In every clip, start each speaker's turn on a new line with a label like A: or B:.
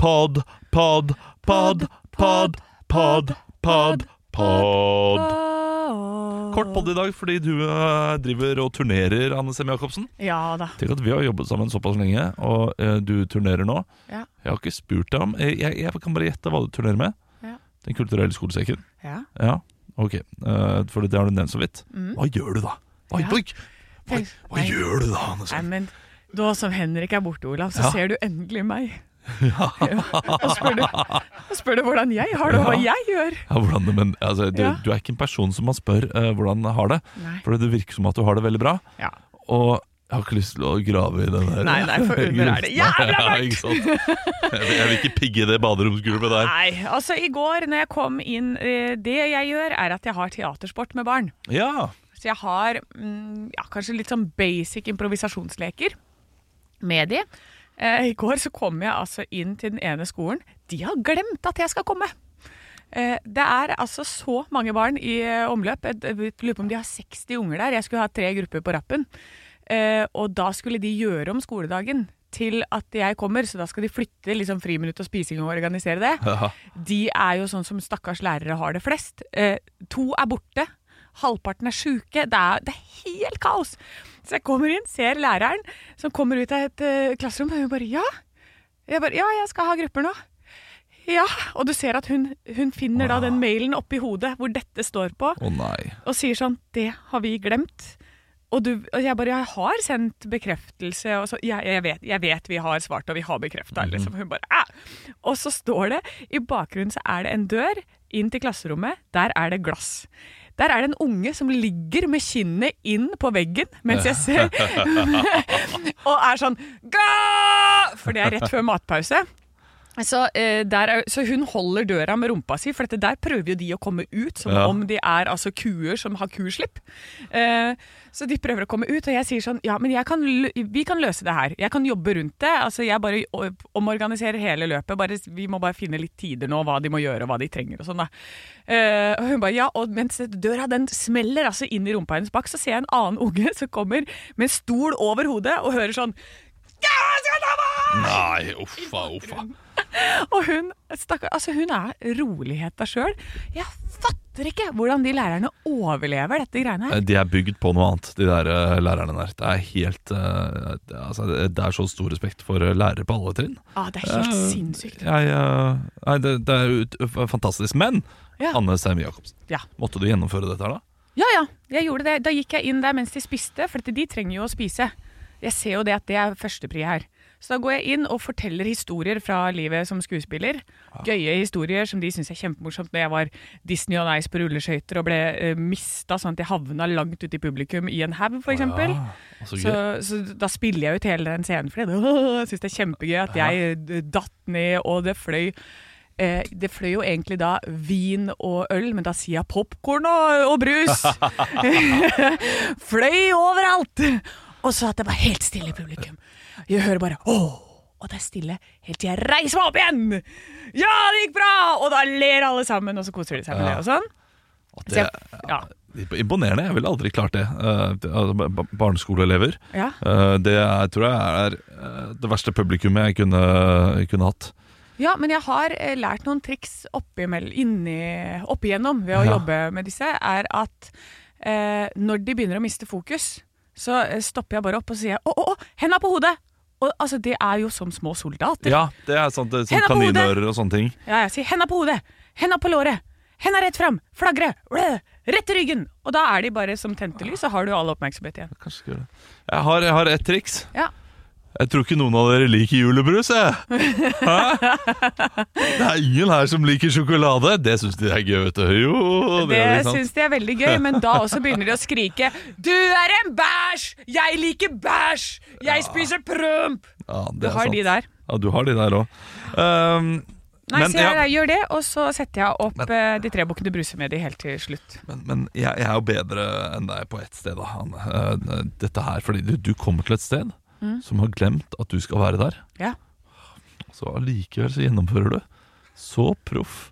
A: pod, pod, pod, pod, pod, pod, pod. Kort pod i dag fordi du eh, driver og turnerer, Anne Sem Jacobsen.
B: Ja da.
A: Tenk at vi har jobbet sammen såpass lenge, og eh, du turnerer nå.
B: Ja.
A: Jeg har ikke spurt deg om Jeg, jeg, jeg kan bare gjette hva du turnerer med.
B: Ja.
A: Den kulturelle skolesekken.
B: Ja.
A: Ja, ok. Eh, for det har du nevnt så vidt. Hva gjør du da? Hva,
B: Mm. Ja.
A: hva, hva,
B: Tenk-
A: hva
B: Nei.
A: gjør du da, Anne
B: Nei,
A: Sem?
B: men da som Henrik er borte, Olav, så
A: Ja.
B: ser du endelig meg. Ja. Og spør du, og spør du hvordan jeg har det, og hva
A: Ja.
B: jeg gjør.
A: Ja, hvordan, men altså, du,
B: Ja.
A: du er ikke en person som man spør eh, hvordan har det.
B: Nei.
A: For det virker som at du har det veldig bra.
B: Ja.
A: Og jeg har ikke lyst til å grave i den der.
B: Nei, nei, for under er det
A: Ja,
B: jævla mørkt!
A: ikke sant? Jeg jeg vil ikke pigge i det baderomsgulvet der.
B: Nei, altså i går når jeg kom inn eh, Det jeg gjør, er at jeg har teatersport med barn.
A: Ja,
B: Så jeg har mm, ja, kanskje litt sånn basic improvisasjonsleker med de. Eh, I går så kom jeg altså inn til den ene skolen. De har glemt at jeg skal komme! Eh, det er altså så mange barn i eh, omløp. Jeg jeg lurer på om de har 60 unger der. Jeg skulle ha tre grupper på rappen. Eh, og da skulle de gjøre om skoledagen til at jeg kommer, så da skal de flytte liksom friminutt og spising og organisere det.
A: Ja.
B: De er jo sånn som stakkars lærere har det flest. Eh, to er borte, halvparten er sjuke. Det er, det er helt kaos. Så jeg kommer inn, ser læreren som kommer ut av et eh, klasserom, og hun bare ja. Jeg bare ja, jeg skal ha grupper nå. Ja, og du ser at hun, hun finner da den mailen oppi hodet hvor dette står på
A: Å nei.
B: og sier sånn Det har vi glemt. Og, du, og jeg bare Jeg har sendt bekreftelse. Og så, jeg, jeg, vet, jeg vet vi har svart, og vi har bekrefta. Liksom. Hun bare «Æ!» Og så står det I bakgrunnen så er det en dør inn til klasserommet. Der er det glass. Der er det en unge som ligger med kinnet inn på veggen mens jeg ser Og er sånn Ga! For det er rett før matpause. Så, eh, der er, så hun holder døra med rumpa si, for dette der prøver jo de å komme ut som
A: Ja.
B: om de er altså kuer som har kuslipp. Eh, så de prøver å komme ut, og jeg sier sånn Ja, men jeg kan, lø- vi kan løse det her. Jeg kan jobbe rundt det. Altså, jeg bare o- omorganiserer hele løpet. Bare, vi må bare finne litt tider nå, hva de må gjøre, og hva de trenger og sånn, da. Eh, og hun bare ja, og mens døra den smeller altså inn i rumpa hennes bak, så ser jeg en annen unge som kommer med en stol over hodet og hører sånn Ja, jeg skal ta meg!
A: Nei, uffa, uffa.
B: Og hun, stakkar, altså hun er roligheta sjøl. Jeg fatter ikke hvordan de lærerne overlever dette greiene her.
A: Eh, De er bygd på noe annet, de der eh, lærerne der. Det er helt eh, det- altså, Det er så stor respekt for eh, lærere på alle trinn.
B: Ah, det er helt
A: Eh,
B: sinnssykt.
A: Jeg, eh, nei, det, det er ut, fantastisk. Men
B: Ja.
A: Anne Sem Jacobsen,
B: Ja.
A: måtte du gjennomføre dette her, da?
B: ja ja, jeg gjorde det. Da gikk jeg inn der mens de spiste, for at de trenger jo å spise. Jeg ser jo det at det er førstepri her. Så da går jeg inn og forteller historier fra livet som skuespiller. Gøye historier som de syns er kjempemorsomt når jeg var Disney on Ice på rulleskøyter og ble eh, mista sånn at jeg havna langt ute i publikum i en haug, f.eks. eksempel
A: Ja, altså,
B: Så,
A: gøy.
B: så da spiller jeg ut hele den scenen for det. Jeg syns det er kjempegøy at jeg d- datt ned, og det fløy eh, Det fløy jo egentlig da vin og øl, men da sier jeg popkorn og, og brus! fløy overalt! Og så at det var helt stille i publikum. Jeg hører bare åh! Og det er stille helt til jeg reiser meg opp igjen! Ja, det gikk bra! Og da ler alle sammen, og så koser de seg med det og sånn.
A: At
B: Så
A: det,
B: jeg, ja,
A: Imponerende. Jeg ville aldri klart det. Eh, det- altså, ba- ba- Barneskoleelever.
B: ja.
A: Eh, Det er, tror jeg er eh, det verste publikummet jeg kunne, kunne hatt.
B: Ja, men jeg har eh, lært noen triks oppimell- inni- oppigjennom ved å
A: Ja.
B: jobbe med disse, er at eh, når de begynner å miste fokus, så eh, stopper jeg bare opp og sier å, å, å, henda på hodet! Og altså, det er jo som små soldater.
A: Ja, det er sånt, det, er sånn
B: Henda på hodet!
A: kaninører og sånne ting.
B: Ja, jeg sier henda på hodet, henda på låret, henda rett fram, flagre, blø, rett i ryggen! Og da er de bare som tente lys, så har du all oppmerksomhet igjen.
A: Kanskje ikke gjøre det. Jeg har, jeg har et triks.
B: Ja.
A: Jeg tror ikke noen av dere liker julebrus, jeg. Hæ? Det er ingen her som liker sjokolade. Det syns de er gøy, vet du. Jo, det,
B: Det
A: er sant.
B: syns de er veldig gøy, men da også begynner de å skrike 'Du er en bæsj! Jeg liker bæsj! Jeg spiser promp!'
A: Ja, det
B: Du
A: er
B: har de
A: sant.
B: der.
A: Ja, du har de der òg.
B: Nei,
A: Ehm, Men
B: så jeg,
A: jeg-
B: gjør det, og så setter jeg opp
A: Men-
B: eh, de tre bukkene Bruse med de helt til slutt.
A: Men, men jeg, jeg er jo bedre enn deg på ett sted, da. Han, eh, dette her, fordi du, du kommer til et sted
B: Mm.
A: som har glemt at du skal være der.
B: Ja.
A: Så allikevel så gjennomfører du. Så proff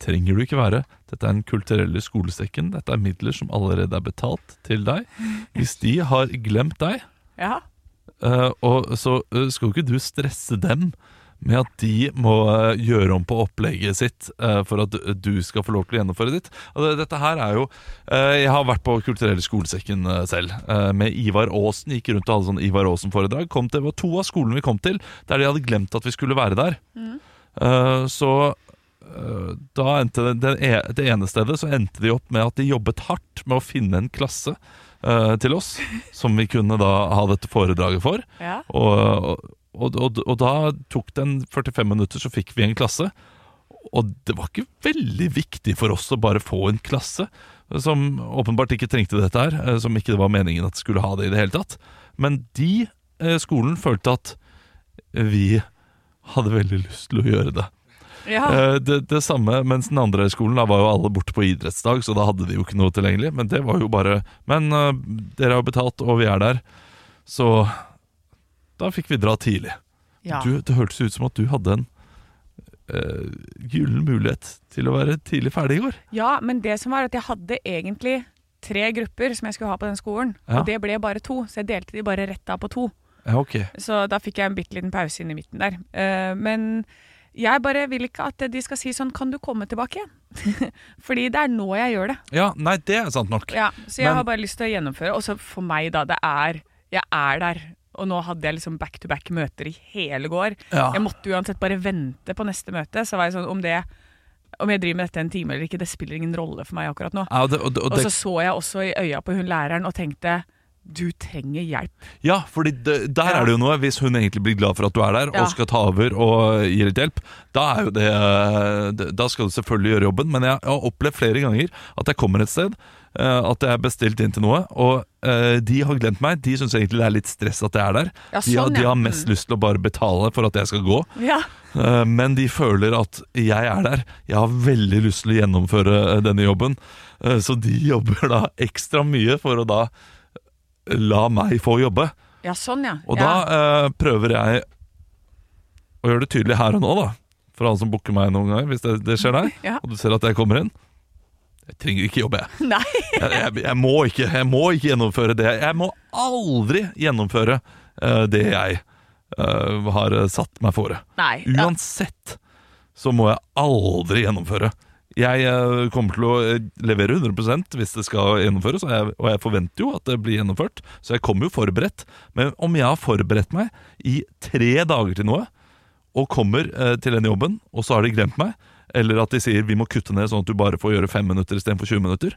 A: trenger du ikke være. Dette er den kulturelle skolestekken. Dette er midler som allerede er betalt til deg. Hvis de har glemt deg,
B: Ja.
A: eh, og så eh, skal jo ikke du stresse dem med at de må eh, gjøre om på opplegget sitt eh, for at du skal få lov til å gjennomføre ditt. Og det- dette her er jo eh, Jeg har vært på Kulturelle skolesekken eh, selv, eh, med Ivar Aasen. Gikk rundt og hadde sånn Ivar Aasen-foredrag. Kom til- Det var to av skolene vi kom til der de hadde glemt at vi skulle være der. Eh, Så eh, da endte det, det, e- det ene stedet så endte de opp med at de jobbet hardt med å finne en klasse eh, til oss som vi kunne da ha dette foredraget for.
B: ja.
A: Og, og, og, og da tok det en 45 minutter, så fikk vi en klasse. Og det var ikke veldig viktig for oss å bare få en klasse som åpenbart ikke trengte dette her, eh, som ikke det var meningen at skulle ha det i det hele tatt. Men de, eh, skolen, følte at vi hadde veldig lyst til å gjøre det.
B: ja.
A: Eh, Det, det samme, mens den andre skolen da var jo alle borte på idrettsdag, så da hadde de jo ikke noe tilgjengelig. Men det var jo bare Men eh, dere har jo betalt, og vi er der. Så da fikk vi dra tidlig.
B: ja.
A: Du, det hørtes ut som at du hadde en eh, gyllen mulighet til å være tidlig ferdig i går.
B: Ja, men det som var at jeg hadde egentlig tre grupper som jeg skulle ha på den skolen.
A: Ja.
B: Og det ble bare to, så jeg delte de bare rett av på to.
A: Ja, ok.
B: Så da fikk jeg en bitte liten pause inn i midten der. Eh, men jeg bare vil ikke at de skal si sånn Kan du komme tilbake igjen? Fordi det er nå jeg gjør det.
A: Ja, nei, det er sant nok.
B: Ja, så jeg
A: Men-
B: har bare lyst til å gjennomføre. Og så for meg, da. Det er Jeg er der. Og nå hadde jeg liksom back to back møter i hele går.
A: Ja.
B: Jeg måtte uansett bare vente på neste møte. Så var jeg sånn Om det om jeg driver med dette en time eller ikke, det spiller ingen rolle for meg akkurat nå.
A: Ja, og det, og det, og
B: Og
A: det,
B: så så jeg også i øya på hun læreren og tenkte du trenger hjelp.
A: ja fordi det, der
B: Ja.
A: er det jo noe. Hvis hun egentlig blir glad for at du er der
B: Ja.
A: og skal ta over og gir litt hjelp, da, er jo det, eh, da skal du selvfølgelig gjøre jobben. Men jeg har opplevd flere ganger at jeg kommer et sted, eh, at jeg er bestilt inn til noe, og eh, de har glemt meg. De syns egentlig det er litt stress at jeg er der.
B: Ja,
A: de, har,
B: sånn,
A: de
B: ja.
A: har mest
B: Mm.
A: lyst til å bare betale for at jeg skal gå.
B: Ja.
A: Eh, Men de føler at jeg er der. Jeg har veldig lyst til å gjennomføre eh, denne jobben. Eh, Så de jobber da ekstra mye for å da la meg få jobbe.
B: ja, sånn ja.
A: Og
B: ja.
A: da eh, prøver jeg å gjøre det tydelig her og nå, da. For alle som booker meg noen ganger, hvis det, det skjer deg,
B: Ja.
A: og du ser at jeg kommer inn. Jeg trenger ikke jobbe, jeg
B: Nei.
A: jeg, jeg, jeg, må ikke, jeg må ikke gjennomføre det. Jeg må aldri gjennomføre eh, det jeg eh, har satt meg fore.
B: Nei, ja.
A: Uansett så må jeg aldri gjennomføre. Jeg eh, kommer til å eh, levere 100 hvis det skal gjennomføres, og jeg, og jeg forventer jo at det blir gjennomført. Så jeg kommer jo forberedt. Men om jeg har forberedt meg i tre dager til noe, og kommer eh, til den jobben, og så har de glemt meg, eller at de sier vi må kutte ned sånn at du bare får gjøre fem minutter istedenfor 20 minutter.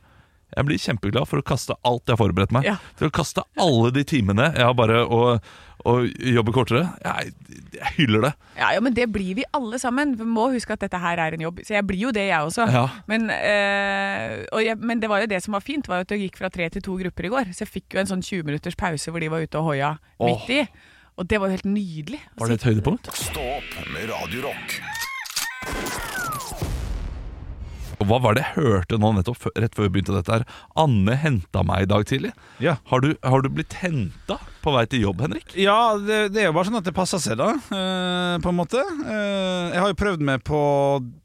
A: Jeg blir kjempeglad for å kaste alt jeg har forberedt meg.
B: Ja.
A: Til å kaste alle de timene jeg har bare å, å jobbe kortere. Jeg, jeg hyller det.
B: Ja, ja, men det blir vi alle sammen. Vi må huske at dette her er en jobb. Så jeg blir jo det, jeg også.
A: Ja.
B: Men, eh, og jeg, men det var jo det som var fint, var jo at det gikk fra tre til to grupper i går. Så jeg fikk jo en sånn 20 minutters pause hvor de var ute og hoia
A: Åh.
B: midt i. Og det var jo helt nydelig. å
A: Var det et høydepunkt?
C: Stå opp med Radio Rock.
A: Og Hva var det jeg hørte nå nettopp før- rett før vi begynte dette her? Anne henta meg i dag tidlig.
D: Ja.
A: Har, du, har du blitt henta på vei til jobb, Henrik?
D: Ja, det, det er jo bare sånn at det passer seg, da. eh, på en måte. Eh, jeg har jo prøvd meg på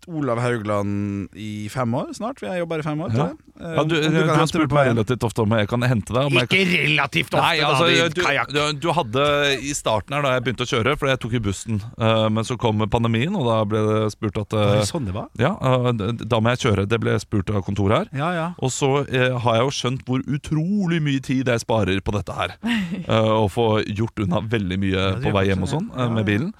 D: Olav Haugland i fem år snart. Vi har jobba i fem år.
A: Ja.
D: tror jeg. Eh,
A: Ja,
D: om
A: du, du, har
D: hente meg
A: spurt
D: på
A: meg
D: veien.
A: relativt ofte om jeg kan hente deg. Om jeg kan...
D: relativt
A: Nei, altså,
D: din
A: du,
D: kajakk.
A: du, du hadde i starten her da jeg begynte å kjøre, for jeg tok jo bussen. eh, men så kom pandemien, og da ble det spurt at
D: Var
A: eh,
D: det sånn det var?
A: Ja, eh, da må jeg kjøre. Det ble spurt av kontoret her.
D: Ja, ja.
A: Og så eh, har jeg jo skjønt hvor utrolig mye tid jeg sparer på dette her. Eh, og får gjort unna veldig mye
D: det
A: på
D: gjør
A: vei
D: kanskje
A: hjem og
D: det.
A: sånn eh,
D: Ja, ja.
A: med bilen.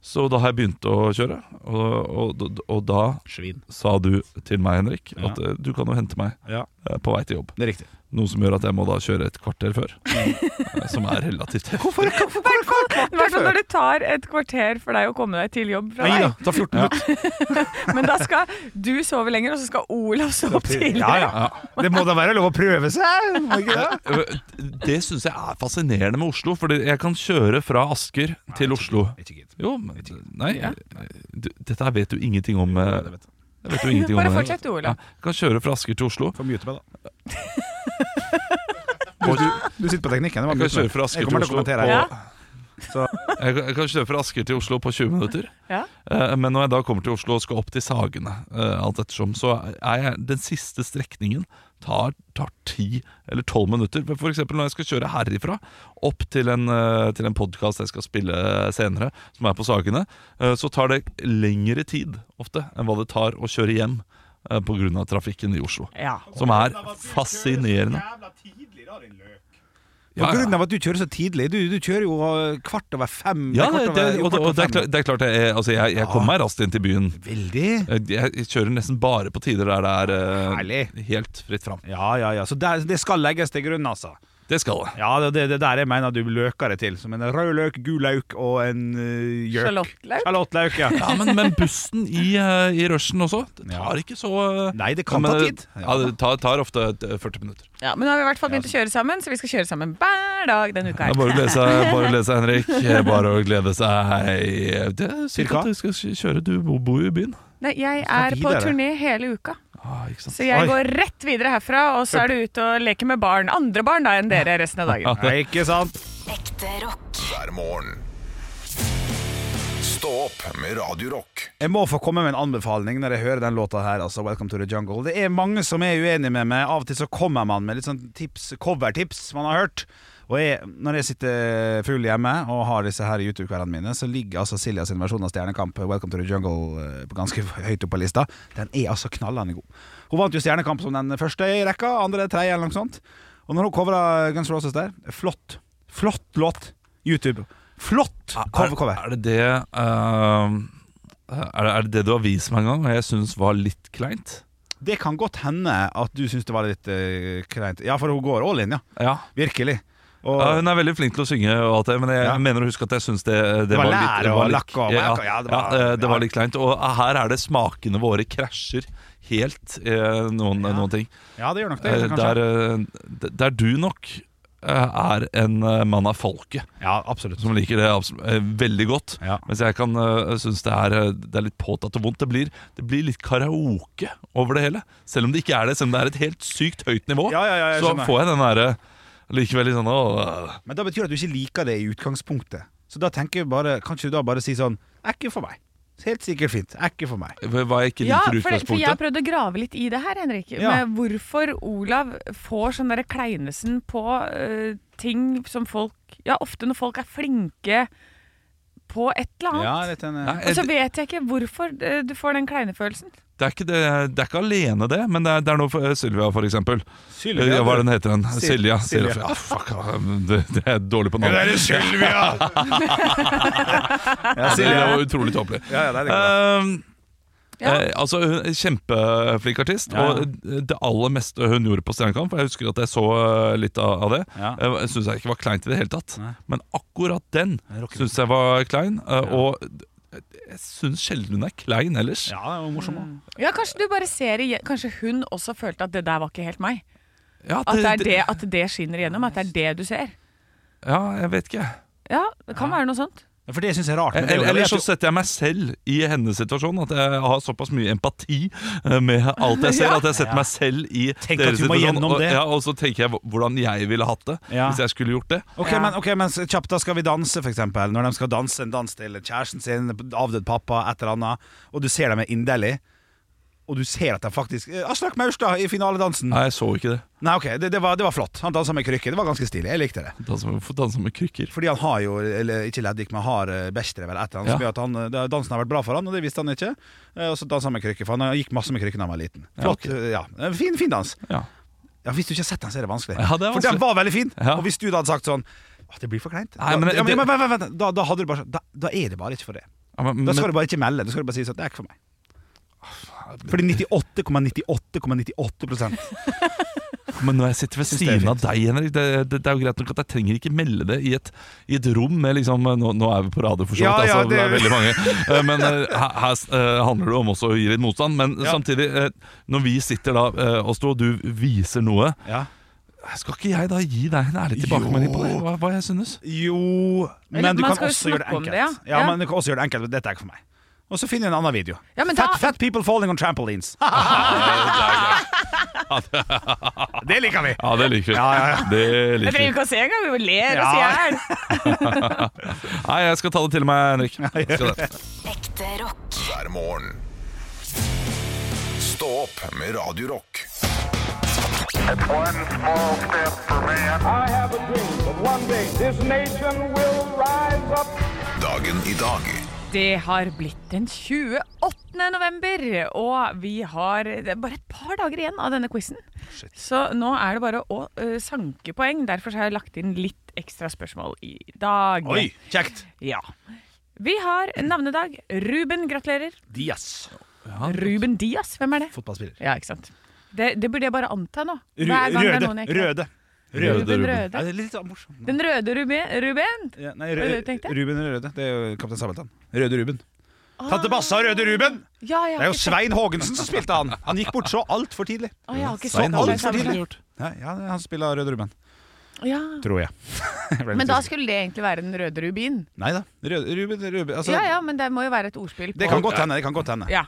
A: Så da har jeg begynt å kjøre, og, og, og da
D: Svin.
A: sa du til meg, Henrik,
D: Ja.
A: at eh, du kan jo hente meg
D: Ja,
A: eh, på vei til jobb.
D: det er riktig.
A: Noe som gjør at jeg må da kjøre et kvarter før. eh, som er relativt heftig.
D: Hvorfor,
B: I
D: hvorfor, hvorfor,
B: hvert fall når Altså, det tar et kvarter for deg å komme deg til jobb fra
D: Nei da,
B: deg.
D: ta 14 minutter.
B: Men da skal du sove lenger, og så skal Olav sove tidligere.
E: Ja, ja. Det må da være lov å prøve seg? må ikke det?
A: Eh, Det syns jeg er fascinerende med Oslo, for jeg kan kjøre fra Asker til Oslo.
D: Ikke gidd.
A: Jo, men Nei, du, dette her vet du ingenting om. eh,
D: det vet
A: Jeg vet jo ingenting om
B: Bare
A: det.
B: fortsett, du, Olav.
A: Ja, jeg kan kjøre fra Asker til Oslo.
D: Få mute meg, da. Du, du, du sitter på teknikken. det
A: Jeg
D: var
A: kan
D: mute meg.
A: kjøre fra Asker
D: Jeg kommer
A: til Oslo
D: til å kommentere
A: på,
D: her.
B: Ja.
A: jeg, kan- jeg kan kjøre fra Asker til Oslo på 20 minutter.
B: Ja.
A: Eh, Men når jeg da kommer til Oslo og skal opp til Sagene, eh, alt ettersom, så er jeg den siste strekningen tar, tar 10 eller 12 minutter. For for eksempel når jeg skal kjøre herifra opp til en, eh, til en podkast jeg skal spille senere, som er på Sagene, eh, så tar det lengre tid ofte enn hva det tar å kjøre hjem eh, pga. trafikken i Oslo.
B: Ja.
A: Som er fascinerende.
D: På
A: Ja, ja.
D: grunn av at du kjører så tidlig. Du, du kjører jo eh, kvart over fem.
A: Ja, det,
D: kvart over-
A: det,
D: jo,
A: og,
D: kvart
A: det- og det, er
D: over fem.
A: klart, det er klart jeg, er- altså jeg, jeg kommer meg raskt inn til byen.
D: Veldig.
A: Jeg, jeg kjører nesten bare på tider der det er
D: Herlig.
A: eh, helt fritt fram.
D: Ja, ja, ja. Så der, det skal legges til grunn, altså.
A: Det skal det.
D: Ja, det, det, det der jeg mener du løker det til. Som en rød løk, gul lauk og en eh, gjøk.
B: Sjalottløk.
D: Sjalottløk, ja.
A: Ja, men, men bussen i, eh, i rushen også, det tar ikke så eh,
D: Nei, det kan
A: men,
D: ta
A: eh,
D: tid.
A: Ja, det tar, tar ofte eh, 40 minutter.
B: Ja, men nå har vi i hvert fall begynt å kjøre sammen, så vi skal kjøre sammen hver dag denne uka.
A: Det er
B: her
A: bare å glede seg, bare å glede seg, Henrik. Eh, Bare å glede seg. Det er sikkert
D: Cirka?
A: at du skal kjøre, du bo- bor jo i byen.
B: Nei, jeg
D: Skal
B: er på
D: videre.
B: turné hele uka,
A: Ah, ikke sant?
B: så jeg
D: Oi.
B: går rett videre herfra. Og så er det ut og leke med barn. Andre barn da enn dere resten av dagen.
D: Nei, ikke sant?
F: Ekte rock.
C: hver morgen. Stå opp med Radio Rock.
D: Jeg må få komme med en anbefaling når jeg hører den låta her. Altså Welcome to the jungle Det er mange som er uenige med meg. Av og til så kommer man med litt sånn tips, covertips man har hørt. Og jeg, når jeg sitter full hjemme og har disse her YouTube-kveldene mine, så ligger altså Silja sin versjon av Stjernekamp Welcome to the jungle eh, på ganske høyt oppe på lista. Den er altså knallende god. Hun vant jo Stjernekamp som den første i rekka. Andre, tredje eller noe sånt. Og når hun covra Guns N' Roses der Flott. Flott låt. YouTube. Flott cover. cover.
A: Ah, Er, er det det eh, er det, er det det du har vist meg en gang, og jeg syns var litt kleint?
D: Det kan godt hende at du syns det var litt eh, kleint. Ja, for hun går all in, ja.
A: Ja.
D: Virkelig. Og
A: Ja, hun er veldig flink til å synge, og alt det, men jeg
D: Ja.
A: mener å huske at jeg syns det, det,
D: var
A: litt-
D: lær
A: det
D: og
A: var litt-
D: lakk og
A: ja,
D: merk og- ja, det
A: ja,
D: var-
A: eh, det var
D: ja.
A: litt kleint. Og her er det smakene våre krasjer helt eh, noen, noen ting.
D: ja, det gjør nok det.
A: Eh,
D: kanskje.
A: Der, eh, der du nok eh, er en eh, mann av folket
D: ja, absolutt.
A: som liker det absolutt, eh, veldig godt.
D: Ja.
A: Mens jeg kan uh, synes det er, eh, det er litt påtatt og vondt. Det blir, det blir litt karaoke over det hele. Selv om det ikke er det, selv om det er et helt sykt høyt nivå,
D: Ja, ja, ja, jeg
A: så
D: skjønner.
A: får jeg den derre likevel litt sånn åh,
D: Men da betyr det at du ikke liker det i utgangspunktet. Så da tenker jeg bare Kan ikke du da bare si sånn Er ikke for meg. Helt sikkert fint. Er ikke for meg.
A: Hva jeg ikke
B: Ja,
A: liker i
B: for, det, for jeg har
A: utgangspunktet.
B: prøvd å grave litt i det her, Henrik.
D: Ja.
B: Med hvorfor Olav får sånn derre kleinesen på eh, ting som folk Ja, ofte når folk er flinke på et eller
D: Ja,
B: annet.
D: litt en, eh,
A: Nei,
B: Og så
A: det,
B: vet jeg ikke hvorfor eh, du får den kleinefølelsen.
A: det, er ikke det, det er ikke alene, det, men det er, det er noe for eh, Sylvia, for eksempel. Eh,
D: Sylvia,
A: Ja, hva er det
D: du-
A: den heter den?
D: Sil-
A: Silja.
D: Silja.
A: Silja. Ja, fuck, ah, det, det er dårlig på
D: Ja,
A: navn.
D: det er Sylvia! ja,
A: Det
D: Silja.
A: var utrolig tåpelig.
D: Ja, ja, det er det.
A: Ehm,
B: Ja.
A: eh, altså, hun er Kjempeflink artist.
D: Ja, ja.
A: Og det aller meste hun gjorde på Stjernekamp, for jeg husker at jeg så eh, litt av, av det,
D: Ja.
A: eh, Jeg syns jeg ikke var kleint i det hele tatt.
D: Nei.
A: Men akkurat den
D: Den rocker
A: syns jeg var klein. eh, Og jeg syns sjelden hun er klein ellers.
D: Ja, det var morsom også.
B: Ja, kanskje du bare ser igjen Kanskje hun også følte at det der var ikke helt meg.
A: Ja,
B: At det, er det, at det skinner igjennom. At det er det du ser.
A: ja jeg vet ikke.
B: Ja, det kan være noe sånt.
D: Ja, For det syns jeg er rart. men det er jo-
A: Eller, eller så setter jeg meg selv i hennes situasjon. At jeg har såpass mye empati eh, med alt jeg ser.
B: Ja.
A: At jeg setter meg selv i
D: Tenk at
A: deres
D: du må
A: situasjon.
D: gjennom
A: Og,
D: det.
A: ja, og så tenker jeg hvordan jeg ville hatt det
D: Ja. Mm.
A: hvis jeg skulle gjort det.
D: Ok,
B: Ja.
D: men, ok, men så kjapt da skal vi danse for eksempel Når de skal danse en dans til kjæresten sin Avdød pappa, et eller annet Og du ser dem er inderlig Og du ser at de faktisk eh, Aslak Maurstad i finaledansen Nei,
A: Nei, jeg så ikke det.
D: ok, det, det, var, det var flott Han dansa med krykke, det var ganske stilig, jeg likte det
A: Danse med, danse med krykker.
D: Fordi han har jo, eller ikke Ledvig, men har eh, Bechdrev eller et eller annet Som
A: Ja.
D: gjør at han, eh, dansen har vært bra for han, og det visste han ikke Eh, Og så dansa han med krykke, for han eh, gikk masse med krykke da han var liten
A: Ja,
D: Flott,
A: ok.
D: eh, ja, Eh, fin, fin dans
A: Ja.
D: ja, Hvis du ikke har sett den, så er det vanskelig.
A: Ja, det er
D: For den
A: vanskelig.
D: var veldig fin.
A: Ja.
D: Og hvis du da hadde sagt sånn «Åh, det blir for kleint.
A: Nei,
D: da,
A: men-
D: ja, men,
A: det-
D: men, vent, vent, vent, da, da, hadde du bare, sånn, da, da er det bare ikke for det.
A: Ja, men,
D: Da
A: men,
D: skal du bare ikke melde. Da skal du bare si sånn Det er ikke for meg. Fordi 98,98,98
A: Men når jeg sitter ved
D: Synes det er
A: siden av deg, Henrik det, det, det er jo greit nok at jeg trenger ikke melde det i et, i et rom med liksom Nå, nå er vi på radio, for så
D: Ja,
A: vidt.
D: ja,
A: altså, det, er
D: det-
A: veldig mange. Eh, Men eh, her, her eh, handler det om også å gi litt motstand. Men
D: Ja.
A: samtidig, eh, når vi sitter da, eh, Astro, og du viser noe,
D: Ja.
A: skal ikke jeg da gi deg en ærlig tilbakemelding på det? Hva, hva jeg synes?
D: Jo Men
B: Eller,
D: du
B: man skal
D: kan
B: jo
D: også gjøre det
B: snakke om
D: enkelt.
B: det,
D: ja.
B: ja. Ja.
D: men du kan også gjøre det enkelt men Dette er ikke for meg. Og så finner jeg en annen video.
B: Ja, men
D: fat,
B: da-
D: fat people falling on trampolines. det liker vi.
A: Ja, det liker vi.
D: Ja, ja,
A: Det
B: Jeg
A: liker
B: trenger
A: vi.
B: ikke å se engang, vi ler oss i
D: Ja.
B: hjel.
A: Nei, jeg skal ta det til meg, Henrik. Jeg Skal det.
F: Ekte rock.
C: hver morgen. Stå opp med Radio Rock.
G: One small step for man. I have a dream that one day this nation will rise up.
C: Dagen i dag
B: Det har blitt den 28. november, og vi har det er bare et par dager igjen av denne quizen. Så nå er det bare å ø, sanke poeng. Derfor så har jeg lagt inn litt ekstra spørsmål i dag.
D: Oi, kjekt.
B: Ja. Vi har navnedag. Ruben, gratulerer.
D: Dias.
B: Ruben Diaz, hvem er det?
D: Fotballspiller.
B: Ja, ikke sant. Det, det burde jeg bare anta nå.
D: Ru
B: Hver gang det er
D: røde.
B: noen jeg ikke-
D: Røde.
A: Røde
B: Ruben
A: Ruben.
D: Ja,
B: Røde.
D: det er litt sånn morsomt.
B: Den røde Ruben. Ruben.
D: Ja, nei,
B: Hva
D: rø
B: er det du tenkte?
D: Ruben eller Røde. Det er jo Kaptein Sabeltann. Røde Ruben. Tante Basse og Røde Ruben!
B: Ja, jeg har
D: Det er jo
B: ikke sett-
D: Svein Haagensen som spilte han. Han gikk bort så altfor tidlig.
B: Å, jeg har
A: Svein
B: ikke sett
D: Holm
B: alle
D: for tidlig.
B: sammen.
D: Ja, ja, han spiller Røde Ruben.
B: Ja.
D: Tror jeg.
B: Men da skulle det egentlig være den røde rubin.
D: Nei da. Røde, Ruben, Ruben altså,
B: Ja, ja, men det må jo være et ordspill. På.
D: Det kan godt hende. det kan godt hende
B: Ja.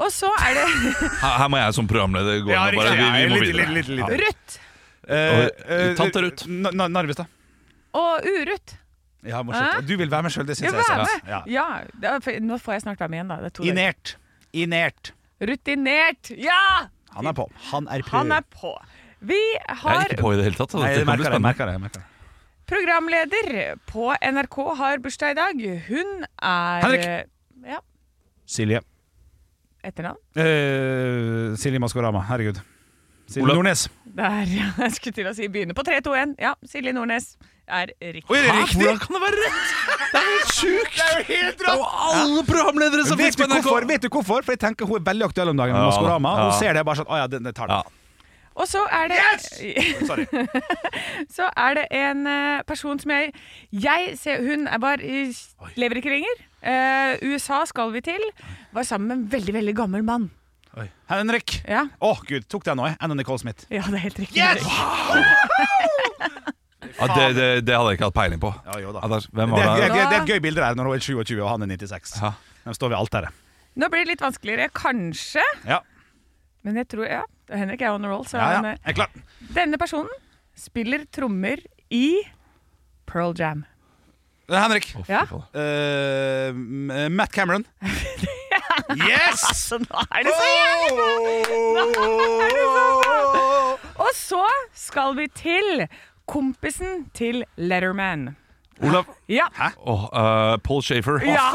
B: Og så er det
A: Her, her må jeg som programleder gå.
D: Ja,
A: nå bare,
D: riktig.
A: vi, vi må
D: Ja, litt-
A: videre.
D: litt- litt- litt.
A: Ja.
B: Ruth
D: Eh,
A: Og, eh, Tante Ruth.
D: Na- Na- Narvestad.
B: og Uruth.
D: Ja, morsomt.
B: Hæ?
D: Du vil være med sjøl, det syns
B: Ja,
D: jeg. er
B: vær
D: stas.
B: med! Ja, det er- for- Nå får jeg snart være med igjen, da. Det er to
D: Ja. Inert. Inert.
B: dager. Rutinert! Ja!
D: Han er på. Han er
B: Han er på. Vi
A: Jeg er
B: har
A: ikke på i det hele tatt. så
D: Nei,
A: Dette kan
D: jeg
A: bli
D: merker det. jeg
A: spennende.
D: merker det, jeg merker det.
B: programleder på NRK har bursdag i dag. Hun er eh,
D: Henrik.
B: Ja,
D: Silje.
B: etternavn.
D: Eh, Silje Maskorama. Herregud. Silje
A: Olav.
D: Nordnes.
B: Der, ja. Jeg skulle til å si begynne på 3, 2, 1. Ja, Silje Nordnes er riktig.
D: Oi, er det
A: Hæ?
D: riktig?
A: Hvordan kan det være rett?! Det er helt sjukt! Det er jo alle programledere som
D: Vet
A: finnes
D: du,
A: Altså, på NRK!
D: hvorfor? Vet du hvorfor? For jeg tenker hun er veldig aktuell om dagen med
A: Ja,
D: Maskorama. Hun
A: ja.
D: ser det bare sånn Å ja, den den tar den.
A: Ja.
B: Og så er det
D: Sorry.
B: så er det en eh, person som jeg Jeg ser Hun er bare i- lever ikke lenger. Eh, USA skal vi til. Var sammen med en veldig, veldig gammel mann.
D: Henrik. Å,
B: Ja,
D: gud. Tok den nå, jeg. Anna Nicole Smith.
B: ja det er helt riktig.
D: Yes!
A: Ja, det, det, det hadde jeg ikke hatt peiling på.
D: Ja, jo da.
A: Ja, der- Hvem
D: Det
A: var
D: er, det,
A: det?
D: er, det er et gøy bilde der når hun er 27 og han er 96.
A: Ja.
D: De står ved alteret.
B: Nå blir det litt vanskeligere, kanskje.
D: Ja.
B: Men jeg tror Ja, Henrik er on a roll. Så
D: Ja, ja.
B: han, eh,
D: Jeg er klar.
B: Denne personen spiller trommer i Pearl Jam.
D: Henrik.
A: Å, fy
B: Ja.
A: faen.
D: Eh, m- Matt Cameron. Yes!
B: Så
D: Sånn,
B: nå er det så jævlig bra! Nå er det så bra! Og så skal vi til kompisen til Letterman.
A: Olav.
B: Ja.
A: Åh, eh, Paul Shafer.
B: ja.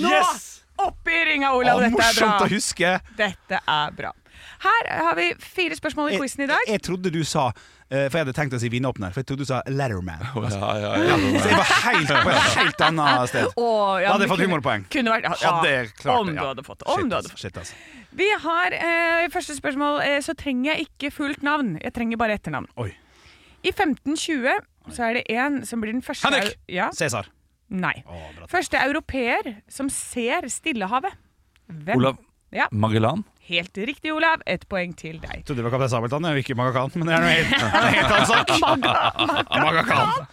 B: Nå
D: Yes!
B: opp i ringa,
D: Å,
B: Olav. Dette er
D: morsomt å
B: bra.
D: huske.
B: Dette er bra. Her har vi fire spørsmål i
D: Jeg,
B: quizen i dag.
D: jeg trodde du sa eh, For jeg hadde tenkt å si vinåpner, for jeg trodde du sa Letterman.
A: Åh, ja, ja, ja, ja.
D: Så jeg var helt på et helt annet sted.
B: Å, ja,
D: Da hadde
B: men
D: jeg fått
B: kunne-
D: humorpoeng.
B: Kunne vært, ja,
D: Hadde jeg klart
B: om
D: det, ja.
B: du hadde fått. Om
D: Shit,
B: du hadde
D: altså,
B: fått.
D: Shit, altså.
B: Vi har eh, første spørsmål. Eh, så trenger jeg ikke fullt navn. Jeg trenger bare etternavn.
D: Oi.
B: I 1520 så er det en som blir den første
D: Henrik!
B: Ja,
D: Cæsar.
B: nei.
D: Å, bra.
B: Første europeer som ser Stillehavet. Hvem?
A: Olav
B: Ja,
A: Magellan.
B: Helt riktig, Olav. Ett poeng til deg.
D: Trodde det var Kaptein Sabeltann, jeg er jo ikke Magakan, men det er noe helt, det er en helt annen sak. Magakan.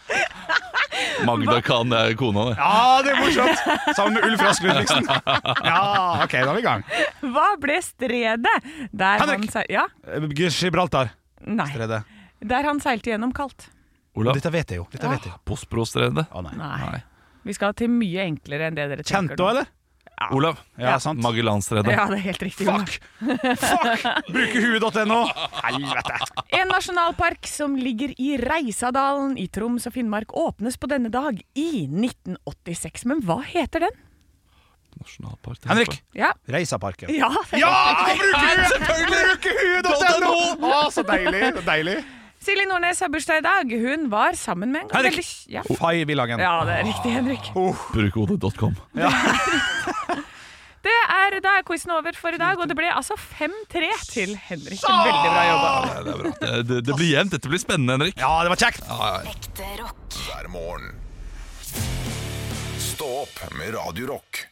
A: Magda Khan er kona, det.
D: Ja, det er morsomt! Sammen med Ulf Rask Ludvigsen. Ja, OK, da er vi i gang.
B: Hva ble stredet der
D: Henrik!
B: han seil- Ja,
D: Eh, Gibraltar.
B: nei.
D: Tredje.
B: Der han seilte gjennom kaldt.
A: Olav.
D: Dette vet jeg jo. Dette vet jeg. jo.
A: Postbrostredet.
D: Å, nei.
B: Nei.
A: Nei.
B: Vi skal til mye enklere enn det dere tenker.
D: Kjent
B: nå.
D: da, eller?
A: Olav.
D: Ja, sant.
A: Magellanstredet.
B: Ja, det er helt riktig. Olav.
D: Fuck! Fuck! Brukerhue.no. Helvete.
B: En nasjonalpark som ligger i Reisadalen i Troms og Finnmark åpnes på denne dag i 1986. Men hva heter den?
A: Nasjonalpark. det er
D: Henrik.
A: på-
B: Ja,
D: Reisaparken.
B: ja,
D: Brukerhue.no! Å, Ah, så deilig. så deilig.
B: Silje Nordnes har bursdag i dag. Hun var sammen med en
D: Henrik!
B: veldig- ja.
D: Fay Villangen.
B: ja, det er riktig, Henrik.
A: Brukerhodet.com.
B: Det er, da er quizen over for i dag, og det ble altså 5-3 til Henrik. Veldig bra jobba.
A: Ja, det, er bra. Det, det, det blir jevnt. Dette blir spennende, Henrik.
D: Ja, det var kjekt!
F: Ekte rock.
C: hver morgen. Stå opp med Radio Rock.